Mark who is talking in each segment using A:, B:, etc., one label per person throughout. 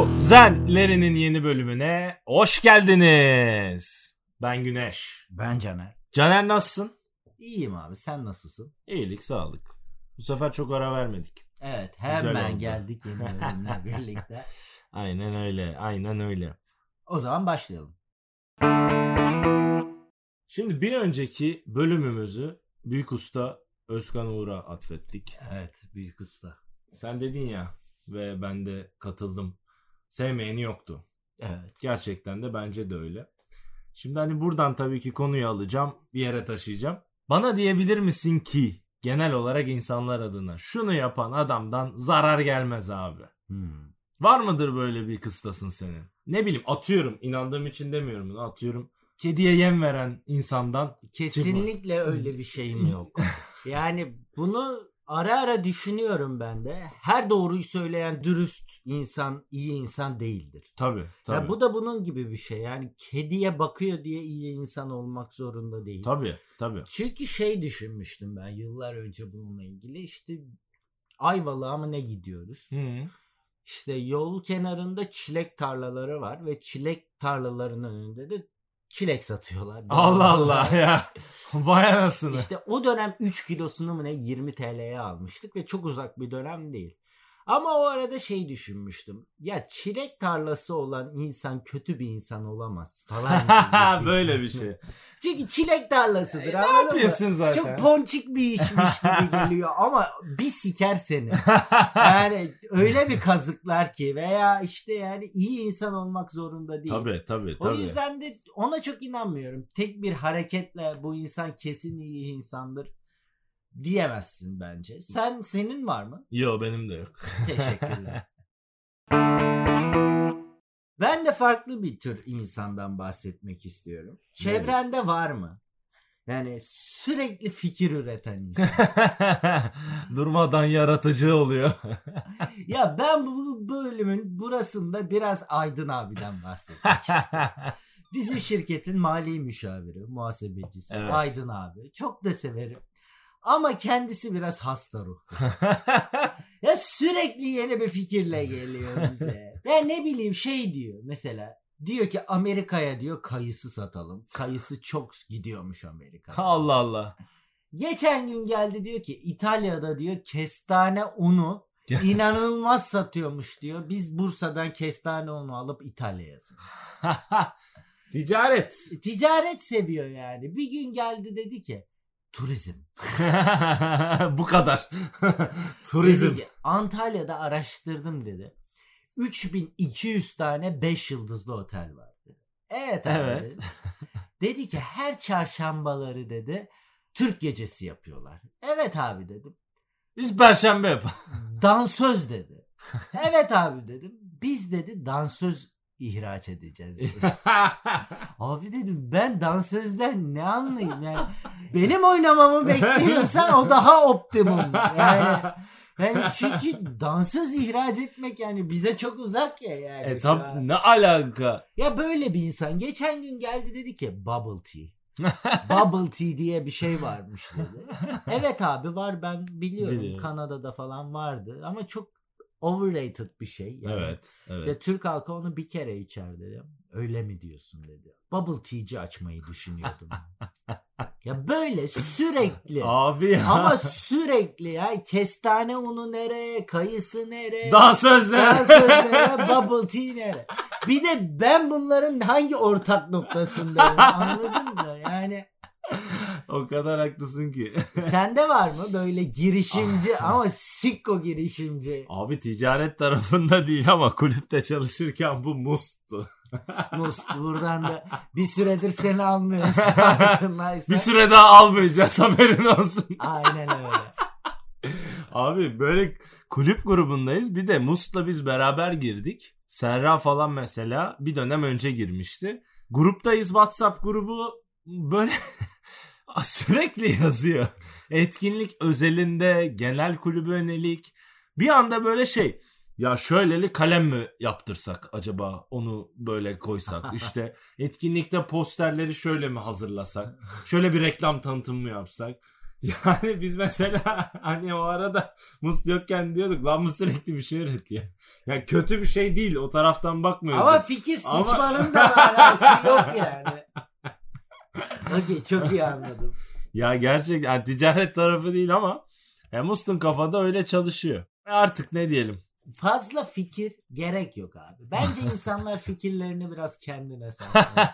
A: Kuzenlerinin yeni bölümüne hoş geldiniz. Ben Güneş.
B: Ben Caner.
A: Caner nasılsın?
B: İyiyim abi sen nasılsın?
A: İyilik, sağlık. Bu sefer çok ara vermedik.
B: Evet
A: Güzel
B: hemen
A: oldu.
B: geldik yeni bölümle birlikte.
A: Aynen öyle, aynen öyle.
B: O zaman başlayalım.
A: Şimdi bir önceki bölümümüzü Büyük Usta Özkan Uğur'a atfettik.
B: Evet büyük usta.
A: Sen dedin ya ve ben de katıldım. Sevmeyeni yoktu.
B: Evet.
A: Gerçekten de bence de öyle. Şimdi hani buradan tabii ki konuyu alacağım, bir yere taşıyacağım. Bana diyebilir misin ki genel olarak insanlar adına şunu yapan adamdan zarar gelmez abi.
B: Hmm.
A: Var mıdır böyle bir kıstasın senin? Ne bileyim atıyorum inandığım için demiyorum bunu atıyorum. Kediye yem veren insandan
B: Kesinlikle öyle bir şeyim yok. Yani bunu ara ara düşünüyorum ben de. Her doğruyu söyleyen dürüst insan iyi insan değildir.
A: tabii tabii.
B: Ya bu da bunun gibi bir şey. Yani kediye bakıyor diye iyi insan olmak zorunda değil.
A: Tabii tabii.
B: Çünkü şey düşünmüştüm ben yıllar önce bununla ilgili işte Ayvalık'a mı ne gidiyoruz?
A: Hı.
B: İşte yol kenarında çilek tarlaları var ve çilek tarlalarının önünde de çilek satıyorlar.
A: Allah Allah ya. Vay anasını.
B: İşte o dönem 3 kilosunu mu ne 20 TL'ye almıştık ve çok uzak bir dönem değil. Ama o arada şey düşünmüştüm. Ya çilek tarlası olan insan kötü bir insan olamaz falan. gibi.
A: böyle bir şey. E,
B: Çünkü çilek tarlasıdır.
A: ne
B: anladın mı?
A: yapıyorsun zaten?
B: Çok ponçik bir işmiş gibi geliyor ama bir siker seni. Yani öyle bir kazıklar ki veya işte yani iyi insan olmak zorunda değil.
A: Tabii tabii
B: O
A: tabii.
B: yüzden de ona çok inanmıyorum. Tek bir hareketle bu insan kesin iyi insandır diyemezsin bence. Sen senin var mı?
A: Yo benim de yok.
B: Teşekkürler. ben de farklı bir tür insandan bahsetmek istiyorum. Çevrende var mı? Yani sürekli fikir üreten insan.
A: Durmadan yaratıcı oluyor.
B: Ya ben bu bölümün burasında biraz Aydın abiden bahsetmek istiyorum. Bizim şirketin mali müşaviri, muhasebecisi
A: Evet.
B: Aydın abi. Çok da severim. Ama kendisi biraz hasta ruh. Ya sürekli yeni bir fikirle geliyor bize. ya ne bileyim şey diyor mesela. Diyor ki Amerika'ya diyor kayısı satalım. Kayısı çok gidiyormuş Amerika'da.
A: Allah Allah.
B: Geçen gün geldi diyor ki İtalya'da diyor kestane unu inanılmaz satıyormuş diyor. Biz Bursa'dan kestane unu alıp İtalya'ya satıyoruz.
A: Ticaret.
B: Ticaret seviyor yani. Bir gün geldi dedi ki turizm.
A: Bu kadar. Turizm.
B: Turizm. Antalya'da araştırdım dedi. 3200 tane 5 yıldızlı otel var dedi. Evet abi.
A: Evet.
B: Dedi. Dedi ki her çarşambaları dedi Türk gecesi yapıyorlar. Evet abi dedim.
A: Biz perşembe yap.
B: Dansöz dedi. Evet abi dedim. Biz dedi dansöz ihraç edeceğiz dedi. abi dedim ben dansözden ne anlayayım yani. Benim oynamamı bekliyorsan o daha optimum. Yani, yani çünkü dansöz ihraç etmek yani bize çok uzak ya yani.
A: e
B: şu
A: tab
B: an.
A: ne alaka?
B: Ya böyle bir insan. Geçen gün geldi dedi ki bubble tea. bubble tea diye bir şey varmış dedi. Evet abi var ben biliyorum.
A: Biliyorum.
B: Kanada'da falan vardı ama çok overrated bir şey. Yani.
A: Evet.
B: Ve
A: Evet.
B: Türk halkı onu bir kere içer dedi. Öyle mi diyorsun dedi. Bubble tea'ci açmayı düşünüyordum. ya böyle sürekli.
A: Abi ya.
B: ama sürekli ya kestane unu nereye, kayısı nereye?
A: daha sözler.
B: Dansözlere, bubble tea'lere. Bir de ben bunların hangi ortak noktasındayım anladın mı? Yani
A: o kadar haklısın ki.
B: sende var mı böyle
A: Ah.
B: girişimci ama sikko girişimci
A: Abi ticaret tarafında değil ama kulüpte çalışırken bu musttu. Ah.
B: Must buradan da bir süredir seni almıyoruz farkındaysan.
A: Bir süre daha almayacağız haberin olsun.
B: Aynen öyle.
A: Abi böyle kulüp grubundayız. Bir de Mus'la biz beraber girdik. Serra falan mesela bir dönem önce girmişti. Gruptayız WhatsApp grubu böyle sürekli yazıyor. Etkinlik özelinde genel kulübe yönelik. Bir anda böyle şey ya şöyleli kalem mi yaptırsak acaba onu böyle koysak işte etkinlikte posterleri şöyle mi hazırlasak şöyle bir reklam tanıtımı mı yapsak Yani biz mesela hani o arada Mus yokken diyorduk lan bu sürekli bir şey üretiyor. Yani kötü bir şey değil o taraftan bakmıyorduk.
B: Ama fikir
A: Ama-
B: sıçmanın da alakası yok yani. Okey çok iyi anladım.
A: Ya gerçekten yani ticaret tarafı değil ama e, Must'un kafada öyle çalışıyor. E artık ne diyelim.
B: Fazla fikir gerek yok abi. Bence insanlar fikirlerini biraz kendine saklıyor.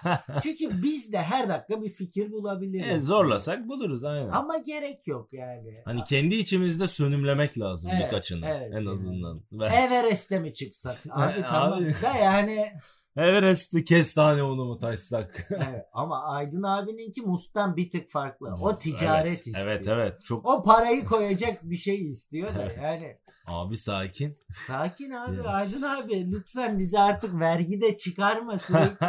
B: Çünkü biz de her dakika bir fikir bulabiliriz.
A: E, zorlasak buluruz aynen.
B: Ama gerek yok yani.
A: Hani kendi içimizde sönümlemek lazım
B: Evet,
A: birkaçını
B: evet,
A: en
B: yani.
A: azından. Ben
B: Everest'e mi çıksak? Abi
A: Abi.
B: tamam da yani.
A: Everest'i kestane unu mu taşsak?
B: Evet. Ama Aydın abininki Mus'tan bir tık farklı. O ticaret
A: evet,
B: istiyor.
A: Evet evet çok
B: O parayı koyacak bir şey istiyor da
A: Evet.
B: yani.
A: abi sakin.
B: Sakin abi
A: Evet.
B: Aydın abi lütfen bizi artık vergide çıkarma sürekli.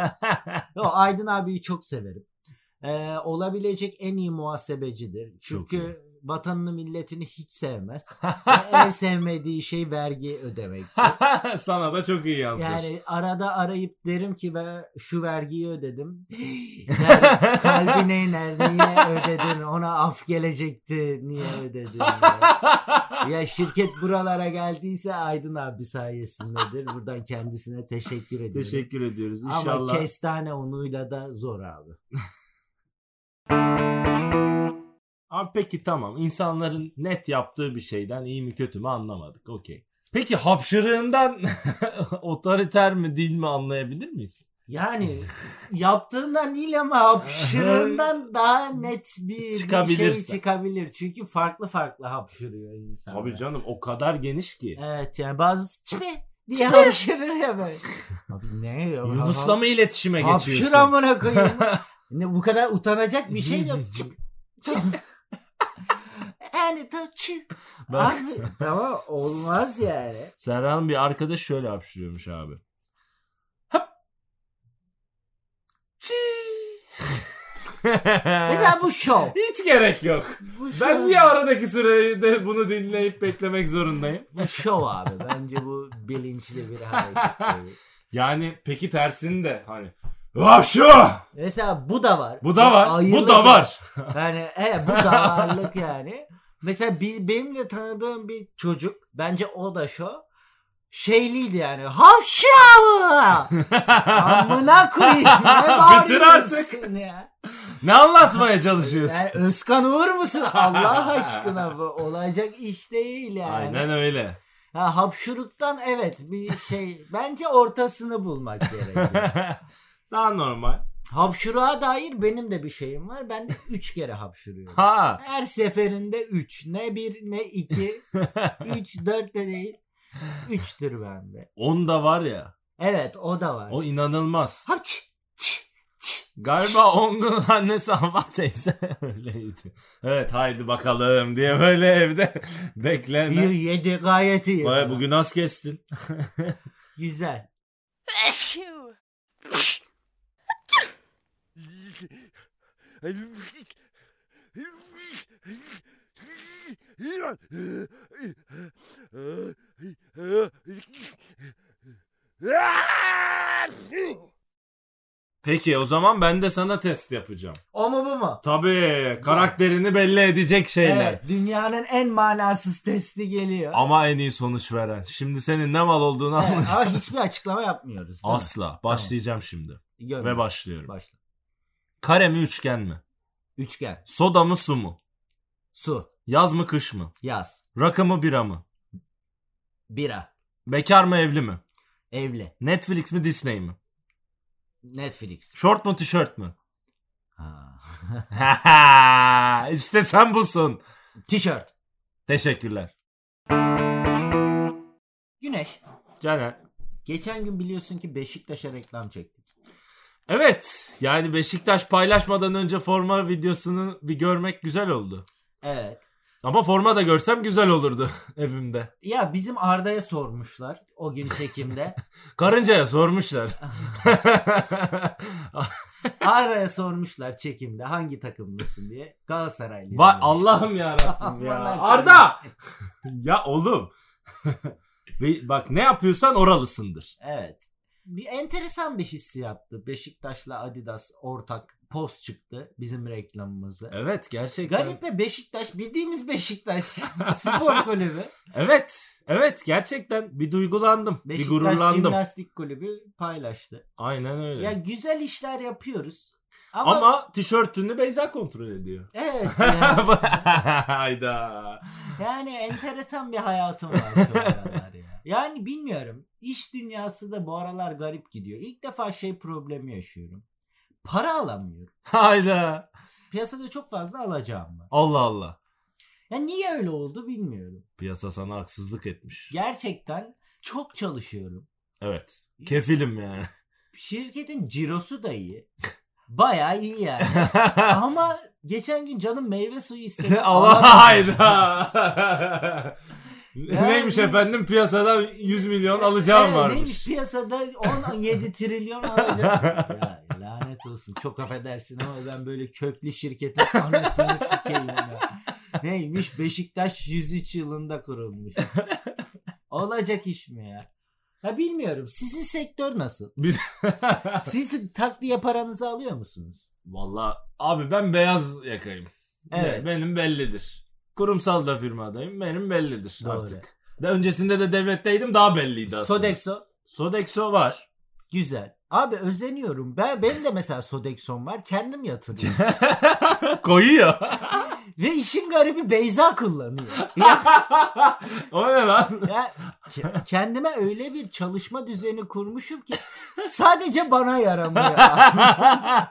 B: Yo, Aydın abiyi çok severim. Ee, olabilecek en iyi muhasebecidir. Çünkü vatanını milletini hiç sevmez. Ve en sevmediği şey vergi ödemek.
A: Sana da çok iyi yansır.
B: Yani arada arayıp derim ki ben şu vergiyi ödedim. Nerede- Kalbine iner niye ödedin ona af gelecekti niye ödedin ya. ya şirket buralara geldiyse Aydın abi sayesindedir. Buradan kendisine teşekkür ediyorum.
A: Teşekkür ediyoruz.
B: Ama
A: İnşallah.
B: kestane unuyla da zor abi.
A: Abi peki tamam. İnsanların net yaptığı bir şeyden iyi mi kötü mü anlamadık. Okey. Peki hapşırığından otoriter mi değil mi anlayabilir miyiz?
B: Yani yaptığından değil ama hapşırığından daha net bir, bir şey
A: Çıkabilirse.
B: çıkabilir. Çünkü farklı farklı hapşırıyor insan.
A: Tabii canım o kadar geniş ki.
B: Evet yani bazısı çipi diye hapşırır ya böyle. Abi ne ya?
A: Yunus'la mı iletişime
B: Hapşır
A: geçiyorsun?
B: amına koyayım. ne, bu kadar utanacak bir şey yok. Çip, çip. yani tam çip.
A: Bak.
B: Abi tamam olmaz yani.
A: Serra'nın bir arkadaş şöyle hapşırıyormuş abi. Hap. Çiğ.
B: Mesela bu şov.
A: Hiç gerek yok.
B: Bu
A: Ben
B: şov-
A: niye aradaki sürede bunu dinleyip beklemek zorundayım?
B: Bu şov abi. Bence bu bilinçli bir hareket. değil.
A: Yani peki tersini de hani Vahşu!
B: Mesela bu da var.
A: Bu da var.
B: Ayılık
A: Bu da var.
B: Yani e, bu da ağırlık yani. Mesela biz, benim de tanıdığım bir çocuk. Bence o da şu. Şeyliydi yani. Havşa! Amına koyayım. Ne
A: Bitir
B: bağırıyorsun ya?
A: ne anlatmaya çalışıyorsun?
B: Yani Özkan Uğur musun? Allah aşkına bu olacak iş değil yani.
A: Aynen öyle.
B: Ha, hapşuruktan evet bir şey. Bence ortasını bulmak gerekiyor.
A: Daha normal.
B: Hapşuruğa dair benim de bir şeyim var. Ben de 3 kere hapşuruyorum.
A: Ha.
B: Her seferinde 3. Ne 1 ne 2. 3 4 de değil. 3'tür bende.
A: Onda var ya.
B: Evet o da var.
A: O inanılmaz.
B: Hapç. çi, çi.
A: Galiba Ongun annesi Hava teyze öyleydi. Evet haydi bakalım diye böyle evde bekleme.
B: İyi yedi gayet iyi.
A: Vay bugün az kestin.
B: Güzel.
C: Achoo!
A: Peki o zaman ben de sana test yapacağım.
B: O mu bu mu?
A: Tabii karakterini belli edecek şeyler.
B: Evet, dünyanın en manasız testi geliyor.
A: Ama en iyi sonuç veren. Şimdi senin ne mal olduğunu
B: Evet,
A: anlayacağım.
B: ama hiçbir açıklama yapmıyoruz. değil mi?
A: Asla. Başlayacağım şimdi.
B: Görmedim.
A: Ve başlıyorum.
B: Başla.
A: Kare mi üçgen mi?
B: Üçgen,
A: Soda mı su mu?
B: su,
A: Yaz mı kış mı?
B: yaz,
A: Rakı mı bira mı?
B: bira,
A: Bekar mı evli mi?
B: evli,
A: Netflix mi Disney mi?
B: Netflix.
A: Şort mu tişört mü?
B: Ha.
A: işte sen busun.
B: Tişört,
A: Teşekkürler.
B: güneş.
A: Caner.
B: Geçen gün biliyorsun ki Beşiktaş'a reklam çektik.
A: Evet yani Beşiktaş paylaşmadan önce forma videosunu bir görmek güzel oldu.
B: Evet.
A: Ama forma da görsem güzel olurdu evimde.
B: Ya bizim Arda'ya sormuşlar o gün çekimde.
A: Karıncaya sormuşlar.
B: Arda'ya sormuşlar çekimde hangi takımlısın diye. Galatasaraylıyım.
A: Va-
B: demiş.
A: Allah'ım ya Rabbim ya.
B: Allah'ım.
A: Arda! ya oğlum. Be- Bak ne yapıyorsan oralısındır.
B: Evet. Bir enteresan bir hissi yaptı. Beşiktaş'la Adidas ortak post çıktı bizim reklamımızı.
A: Evet gerçekten.
B: Garip ve Beşiktaş bildiğimiz Beşiktaş spor kulübü.
A: Evet. Evet gerçekten bir duygulandım. bir
B: Beşiktaş
A: gururlandım.
B: Jimnastik Kulübü paylaştı.
A: Aynen öyle.
B: Ya güzel işler yapıyoruz. Ama,
A: ama... tişörtünü Beyza kontrol ediyor.
B: evet yani,
A: Hayda.
B: yani enteresan bir hayatım var şu aralar ya. Yani bilmiyorum. İş dünyası da bu aralar garip gidiyor. İlk defa şey problemi yaşıyorum. Para alamıyorum.
A: Hayda.
B: Piyasada çok fazla alacağım var.
A: Allah Allah.
B: Ya niye öyle oldu bilmiyorum.
A: Piyasa sana haksızlık etmiş.
B: Gerçekten çok çalışıyorum.
A: Evet. Kefilim yani.
B: Şirketin cirosu da iyi. Bayağı iyi yani. Ama geçen gün canım meyve suyu istedi.
A: Allah
B: alamadım.
A: hayda. Neymiş
B: Yani-
A: efendim piyasada 100 milyon alacağım
B: Evet,
A: varmış.
B: Ee, Neymiş piyasada 17 trilyon alacağım. ya, lanet olsun çok affedersin ama ben böyle köklü şirketin anasını sikeyim ya. Neymiş Beşiktaş 103 yılında kurulmuş. Olacak iş mi ya? Ya bilmiyorum. Sizin sektör nasıl?
A: Biz
B: Siz takviye paranızı alıyor musunuz?
A: Vallahi abi ben beyaz yakayım.
B: Evet.
A: Evet. Benim bellidir. Kurumsal da firmadayım. Benim bellidir
B: Doğru.
A: artık. De öncesinde de devletteydim daha belliydi aslında.
B: Sodexo
A: Sodexo var.
B: güzel. Abi özeniyorum. Ben benim de mesela Sodexo'm var. Kendim yatırıyorum.
A: Koyuyor.
B: Ve işin garibi Beyza kullanıyor.
A: o ne lan?
B: Ya ke- kendime öyle bir çalışma düzeni kurmuşum ki sadece bana yaramıyor. Ya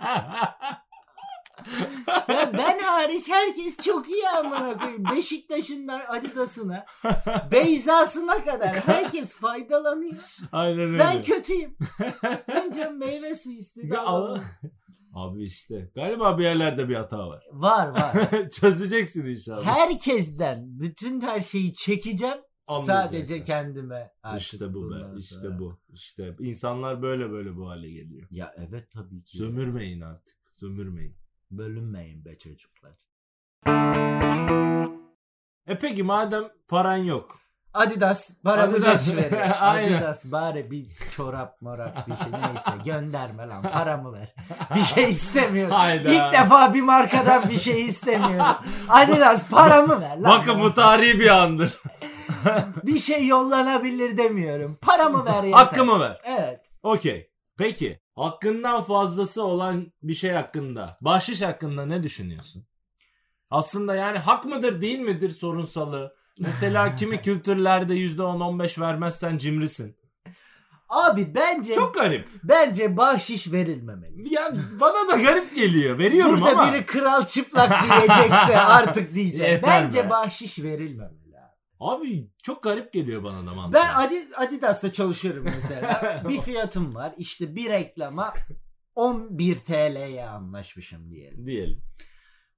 B: ben hariç herkes çok iyi amına koyayım. Beşiktaş'ından Adidas'ına, Beyza'sına kadar herkes faydalanıyor.
A: Aynen öyle.
B: Ben kötüyüm. Ben diyorum meyve suyu istedi.
A: Ya Allah. Abi işte galiba bir yerlerde bir hata var.
B: Var var.
A: Çözeceksin inşallah.
B: Herkesten bütün her şeyi çekeceğim.
A: Anlayacaklar.
B: Sadece kendime. artık
A: işte bu
B: bundan
A: be. işte
B: sonra.
A: bu. İşte insanlar böyle böyle bu hale geliyor.
B: Ya evet tabii ki.
A: Sömürmeyin artık. Sömürmeyin.
B: Bölünmeyin be çocuklar.
A: E peki madem paran yok.
B: Adidas bari bir
A: Adidas.
B: geç veriyor.
A: Aynen.
B: Adidas bari bir çorap morap bir şey neyse gönderme lan paramı ver. Bir şey istemiyorum.
A: Hayda.
B: İlk defa bir markadan bir şey istemiyorum. Adidas paramı ver lan.
A: Bakın bu tarihi bir andır.
B: Bir şey yollanabilir demiyorum. Paramı ver yeter.
A: Hakkımı ver.
B: Evet.
A: Okey. Peki. Hakkından fazlası olan bir şey hakkında. Bahşiş hakkında ne düşünüyorsun? Aslında yani hak mıdır değil midir sorunsalı. Mesela kimi kültürlerde %10-15 vermezsen cimrisin.
B: Abi bence
A: Çok garip.
B: bence bahşiş verilmemeli.
A: Yani bana da garip geliyor. Veriyorum
B: Burada
A: ama.
B: biri kral çıplak diyecekse artık diyeceğim.
A: Yeter
B: bence
A: be.
B: bahşiş verilmemeli. abi.
A: Abi çok garip geliyor bana da mantığı.
B: Ben Adi- Adidas'ta çalışıyorum mesela. bir fiyatım var. İşte bir reklama 11 TL'ye anlaşmışım diyelim.
A: Diyelim.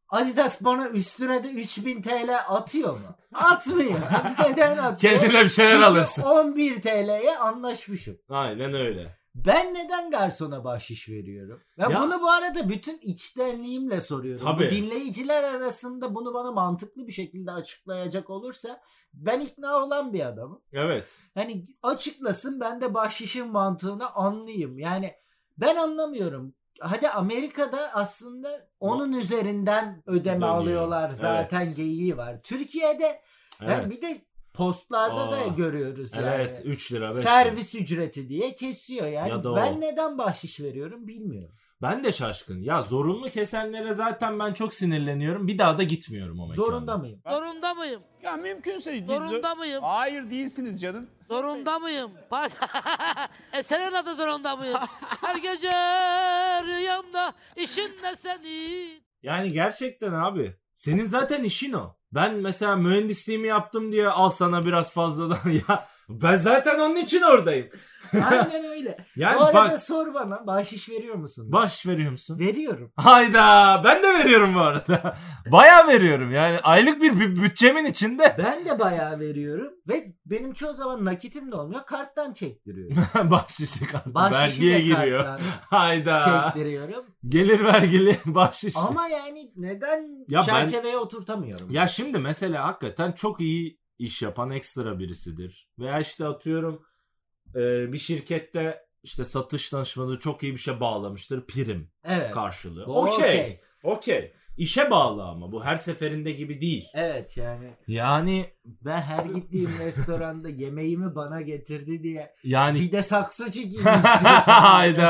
B: Adidas bana üstüne de 3000 TL atıyor mu? Atmıyor. Neden atıyor?
A: Kendine bir şeyler
B: Çünkü
A: alırsın.
B: 11 TL'ye anlaşmışım.
A: Aynen öyle.
B: Ben neden garsona bahşiş veriyorum? Ben
A: Ya-
B: bunu bu arada bütün içtenliğimle soruyorum.
A: Tabii.
B: Bu dinleyiciler arasında bunu bana mantıklı bir şekilde açıklayacak olursa ben ikna olan bir adamım.
A: Evet.
B: Hani açıklasın ben de bahşişin mantığını anlayayım. Yani ben anlamıyorum. Hadi Amerika'da aslında onun üzerinden ödeme
A: Dönüyor.
B: alıyorlar zaten
A: Evet.
B: geyiği var. Türkiye'de yani
A: Evet.
B: bir de postlarda da
A: Aa,
B: görüyoruz yani.
A: Evet. 3 lira 5 lira.
B: Servis ücreti diye kesiyor yani.
A: Ya da
B: ben
A: o.
B: neden bahşiş veriyorum bilmiyorum.
A: Ben de şaşkın. Ya zorunlu kesenlere zaten ben çok sinirleniyorum. Bir daha da gitmiyorum o mekana.
B: Zorunda mıyım?
D: Zorunda mıyım?
E: Ya mümkünse...
D: Zorunda mıyım?
E: Hayır değilsiniz canım.
D: Zorunda mıyım? Baş- e senin adı zorunda mıyım? Her gece rüyamda işin ne senin?
A: Yani gerçekten abi. Senin zaten işin o. Ben mesela mühendisliğimi yaptım diye al sana biraz fazladan ya. Ben zaten onun için oradayım.
B: Aynen öyle.
A: Yani
B: bu arada
A: bak
B: sor bana bahşiş veriyor musun?
A: baş veriyor musun?
B: veriyorum.
A: Hayda ben de veriyorum bu arada. Baya veriyorum yani aylık bir bü- bütçemin içinde.
B: Ben de bayağı veriyorum ve benim çoğu zaman nakitim de olmuyor. Karttan çektiriyorum.
A: bahşişi kartı
B: Bahşişi
A: vergiye
B: de
A: giriyor.
B: karttan
A: Hayda.
B: çektiriyorum.
A: Gelir vergili bahşişi.
B: Ama yani neden
A: Ya ben-
B: çerçeveye oturtamıyorum?
A: Ya şimdi mesela hakikaten çok iyi iş yapan ekstra birisidir. Veya işte atıyorum e, bir şirkette işte satış danışmanı çok iyi bir şey bağlamıştır prim
B: Evet.
A: karşılığı.
B: Bu
A: Okey. Okey. İşe bağlı ama bu her seferinde gibi değil.
B: Evet yani
A: Yani
B: ben her gittiğim restoranda yemeğimi bana getirdi diye
A: yani
B: bir de sakso çekeyim istiyorsan.
A: hayda.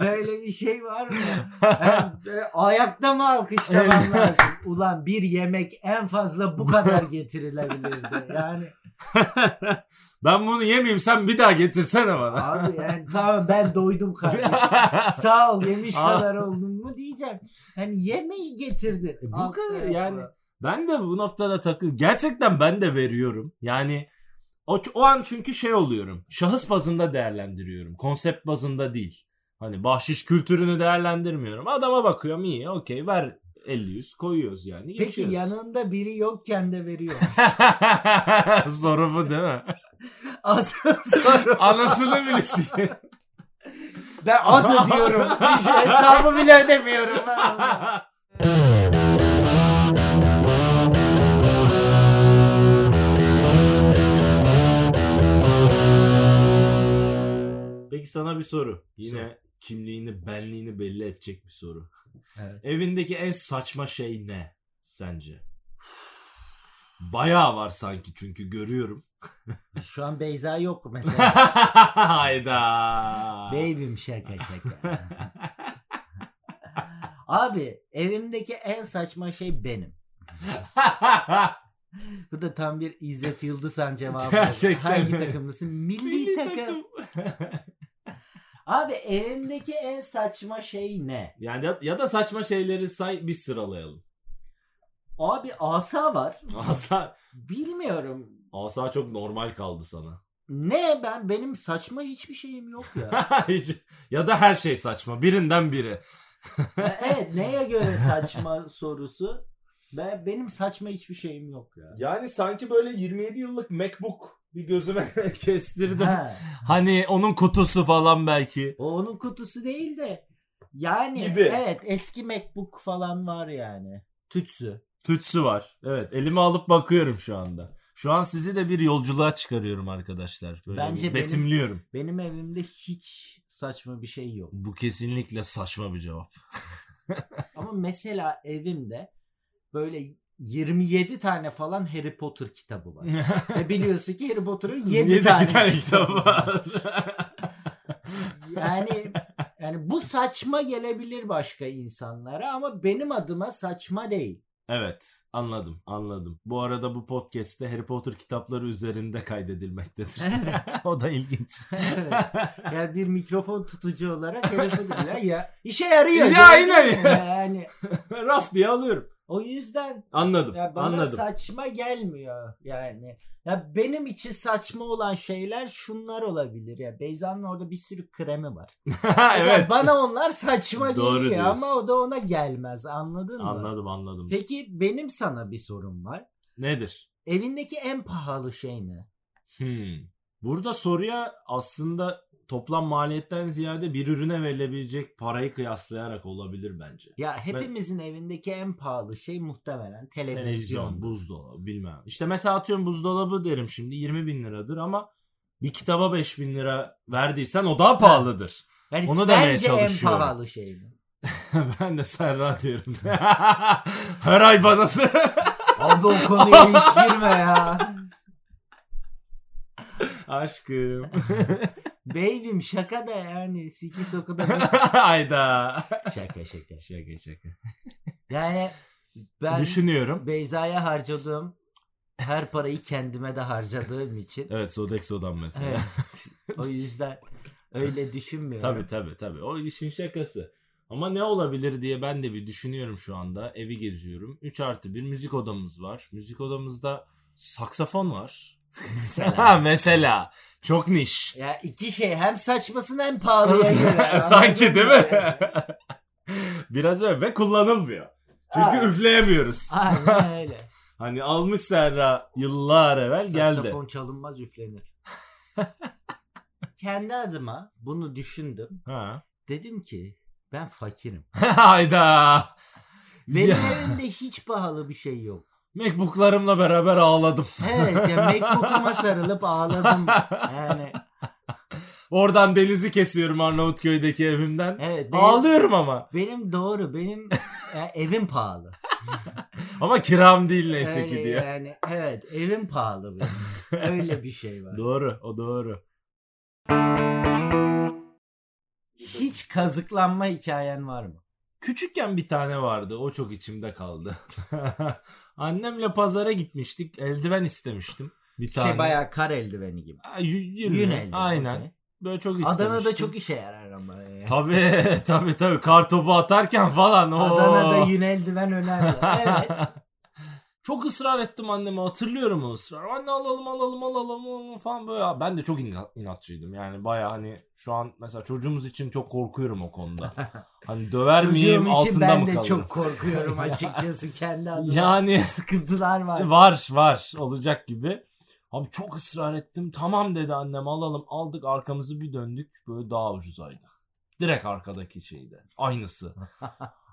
B: Böyle bir şey var mı? Ben, e, ayakta mı alkışlamam lazım? Ulan bir yemek en fazla bu kadar getirilebilirdi. Yani
A: ben bunu yemeyeyim sen bir daha getirsene bana.
B: abi yani tamam ben doydum kardeşim. Sağ ol yemiş kadar oldum mu diyeceğim. Hani yemeği getirdi.
A: E, bu
B: Alt
A: kadar
B: tarafa.
A: yani. Ben de bu noktada takıl. Gerçekten ben de veriyorum. Yani o, o an çünkü şey oluyorum. Şahıs bazında değerlendiriyorum. Konsept bazında değil. Hani bahşiş kültürünü değerlendirmiyorum. Adama bakıyorum iyi okey ver 50-100 koyuyoruz yani.
B: Peki
A: geçiyoruz.
B: yanında biri yokken de veriyor. musun?
A: Soru bu değil mi?
B: Asıl soru.
A: Anasını bilirsin.
B: Ben az ödüyorum. Hiç hesabı bile ödemiyorum.
A: Peki sana bir soru. Yine kimliğini, benliğini belli edecek bir soru.
B: Evet.
A: Evindeki en saçma şey ne sence? Bayağı var sanki çünkü görüyorum.
B: Şu an Beyza yok mesela.
A: Hayda.
B: Baby'm şaka şaka. Abi evimdeki en saçma şey benim. Bu da tam bir İzzet Yıldızhan cevabı. oldu.
A: Gerçekten
B: Hangi
A: öyle.
B: takımlısın? Milli,
A: Milli
B: takım.
A: takım.
B: Abi evimdeki en saçma şey ne?
A: yani ya, ya da saçma şeyleri say biz sıralayalım.
B: Abi asa var.
A: Asa,
B: Bilmiyorum.
A: asa çok normal kaldı sana.
B: Ne ben benim saçma hiçbir şeyim yok ya.
A: Hiç- ya da her şey saçma. Birinden biri.
B: evet neye göre saçma sorusu? Ben benim saçma hiçbir şeyim yok ya.
A: Yani sanki böyle 27 yıllık MacBook bir gözüme kestirdim.
B: Ha,
A: Hani onun kutusu falan belki.
B: o onun kutusu değil de yani
A: Gibi.
B: evet eski MacBook falan var yani. Tütsü.
A: Tütsü var. Evet elime alıp bakıyorum şu anda. Şu an sizi de bir yolculuğa çıkarıyorum arkadaşlar. Böyle
B: Bence
A: bir
B: benim-
A: betimliyorum.
B: Benim evimde hiç saçma bir şey yok.
A: Bu kesinlikle saçma bir cevap.
B: Ama mesela evimde böyle 27 tane falan Harry Potter kitabı var. Ve biliyorsun ki Harry Potter'ın 7,
A: Yedi
B: tane,
A: kitap
B: kitabı var.
A: var.
B: Yani yani bu saçma gelebilir başka insanlara ama benim adıma saçma değil.
A: evet anladım anladım. Bu arada bu podcast'te Harry Potter kitapları üzerinde kaydedilmektedir. o da ilginç.
B: Evet. Yani bir mikrofon tutucu olarak Harry Potter ya, ya işe
A: Ya,
B: yarıyor. gördün mü?
A: aynen.
B: Yani
A: Raf diye alıyorum.
B: o yüzden
A: Anladım
B: Ya bana
A: anladım.
B: saçma gelmiyor yani. Ya benim için saçma olan şeyler şunlar olabilir ya. Beyza'nın orada bir sürü kremi var. Mesela
A: evet.
B: bana onlar saçma
A: Doğru
B: geliyor
A: diyorsun.
B: ama o da ona gelmez. Anladın mı?
A: Anladım anladım.
B: Peki benim sana bir sorum var.
A: Nedir?
B: Evindeki en pahalı şey ne?
A: Hmm. Burada soruya aslında toplam maliyetten ziyade bir ürüne verilebilecek parayı kıyaslayarak olabilir bence.
B: Ya hepimizin evindeki en pahalı şey muhtemelen televizyon.
A: Televizyon, buzdolabı bilmem. İşte mesela atıyorum buzdolabı derim şimdi 20 bin liradır ama bir kitaba 5 bin lira verdiysen o daha pahalıdır.
B: Yani
A: Onu demeye
B: sence en
A: çalışıyorum.
B: pahalı şey mi?
A: ben de Serra diyorum. Her ay bana Serra.
B: Abi o konuya hiç girme ya.
A: Aşkım.
B: Baby'm şaka da yani. Siki soku da
A: Ayda.
B: Şaka şaka.
A: Şaka şaka.
B: Yani ben
A: Düşünüyorum.
B: Beyza'ya harcadığım her parayı kendime de harcadığım için.
A: Evet Sodex odan mesela.
B: Evet. o yüzden öyle düşünmüyorum.
A: Tabii tabii tabii. O işin şakası. Ama ne olabilir diye ben de bir düşünüyorum şu anda. Evi geziyorum. 3 artı bir müzik odamız var. Müzik odamızda saksafon var.
B: Mesela.
A: Mesela. Çok niş.
B: Ya iki şey hem saçmasın hem pahalıya göre.
A: Sanki
B: Anladın
A: değil
B: mı?
A: mi? Biraz öyle ve kullanılmıyor. Çünkü
B: Aa.
A: üfleyemiyoruz.
B: Aynen öyle.
A: Hani almış Serra yıllar evvel geldi.
B: Saksafon çalınmaz üflenir. Kendi adıma bunu düşündüm.
A: Ha.
B: Dedim ki ben fakirim.
A: Hayda.
B: Benim
A: Ya,
B: evimde hiç pahalı bir şey yok.
A: Macbook'larımla beraber ağladım.
B: Evet ya Macbook'uma sarılıp ağladım. Yani
A: Oradan denizi kesiyorum Arnavutköy'deki evimden.
B: Evet, benim-
A: Ağlıyorum ama.
B: Benim doğru benim e, evim pahalı.
A: Ama kiram değil neyse
B: Öyle
A: ki diyor.
B: Yani evet evim pahalı benim. Öyle bir şey var.
A: Doğru o doğru.
B: Hiç kazıklanma hikayen var mı?
A: Küçükken bir tane vardı. O çok içimde kaldı. Annemle pazara gitmiştik. Eldiven istemiştim. Bir tane.
B: Şey bayağı kar eldiveni gibi.
A: Ha, yü- yün,
B: Yün eldiveni.
A: Aynen.
B: okey.
A: Böyle çok istemiştim.
B: Adana'da çok işe yarar ama. ya.
A: Tabii tabii tabii. Kar topu atarken falan. Oo.
B: Adana'da yün eldiven önemli. Evet.
A: Çok ısrar ettim anneme hatırlıyorum o ısrar. Anne alalım alalım alalım, alalım falan böyle. Ben de çok ina- inatçıydım yani baya hani şu an mesela çocuğumuz için çok korkuyorum o konuda. Hani döver miyim
B: Çocuğum için
A: altında
B: ben
A: mı
B: de
A: kalırım?
B: çok korkuyorum açıkçası kendi adıma.
A: Yani
B: Sıkıntılar var.
A: var var olacak gibi. Abi çok ısrar ettim tamam dedi annem alalım aldık arkamızı bir döndük böyle daha ucuzaydı. Direkt arkadaki şeyde aynısı.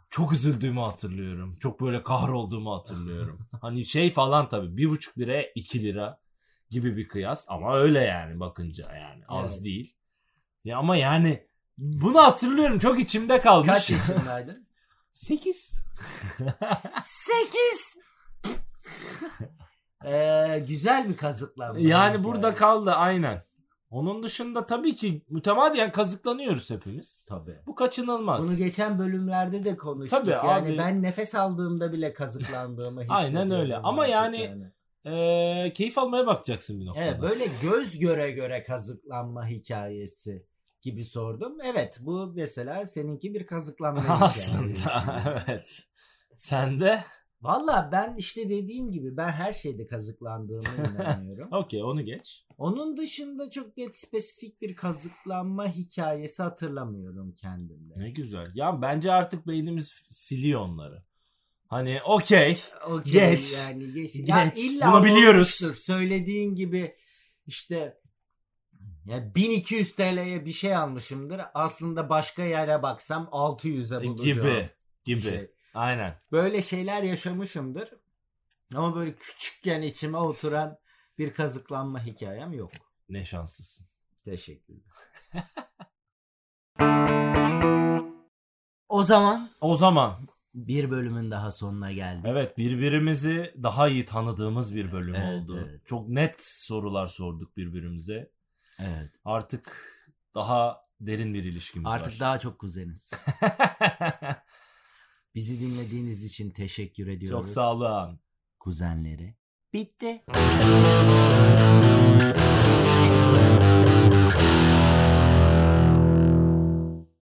A: Çok üzüldüğümü hatırlıyorum. Çok böyle kahrolduğumu hatırlıyorum. Hani şey falan tabii bir buçuk liraya iki lira gibi bir kıyas ama öyle yani bakınca yani az
B: Evet.
A: değil. Ya ama yani bunu hatırlıyorum çok içimde
B: Kaç
A: kalmış.
B: yaşındaydın?
A: 8.
B: Sekiz. Ee, güzel bir kazıklanma.
A: Yani burada kaldı aynen. Onun dışında tabii ki mütemadiyen kazıklanıyoruz hepimiz.
B: Tabii.
A: Bu kaçınılmaz.
B: Bunu geçen bölümlerde de konuştuk.
A: Tabii
B: yani
A: abi.
B: ben nefes aldığımda bile kazıklandığımı
A: Aynen
B: hissediyorum.
A: öyle. Ama
B: artık
A: yani- Ee, keyif almaya bakacaksın bir noktada.
B: Evet böyle göz göre göre kazıklanma hikayesi gibi sordum. Evet bu mesela seninki bir kazıklanma hikayesi.
A: Aslında evet. Sen de
B: Valla ben işte dediğim gibi ben her şeyde kazıklandığıma inanıyorum.
A: okey onu geç.
B: Onun dışında çok net spesifik bir kazıklanma hikayesi hatırlamıyorum kendimde.
A: Ne güzel. Ya bence artık beynimiz siliyor onları. Hani okey.
B: Okey,
A: Geç.
B: Yani geç.
A: Geç.
B: Ya illa
A: Bunu biliyoruz.
B: olmuştur. Söylediğin gibi işte ya 1200 TL'ye bir şey almışımdır. Aslında başka yere baksam 600'e şey bulacağım.
A: E, Gibi. Gibi.
B: Şey.
A: Aynen.
B: Böyle şeyler yaşamışımdır. Ama böyle küçükken içime oturan bir kazıklanma hikayem yok.
A: Ne şanslısın.
B: Teşekkürler. o zaman
A: O zaman
B: bir bölümün daha sonuna geldik.
A: Evet birbirimizi daha iyi tanıdığımız bir bölüm
B: Evet,
A: oldu.
B: evet.
A: Çok net sorular sorduk birbirimize.
B: Evet.
A: Artık daha derin bir ilişkimiz
B: Artık
A: var.
B: daha çok kuzeniz. Bizi dinlediğiniz için teşekkür ediyoruz.
A: Çok sağ olun.
B: Kuzenleri. Bitti.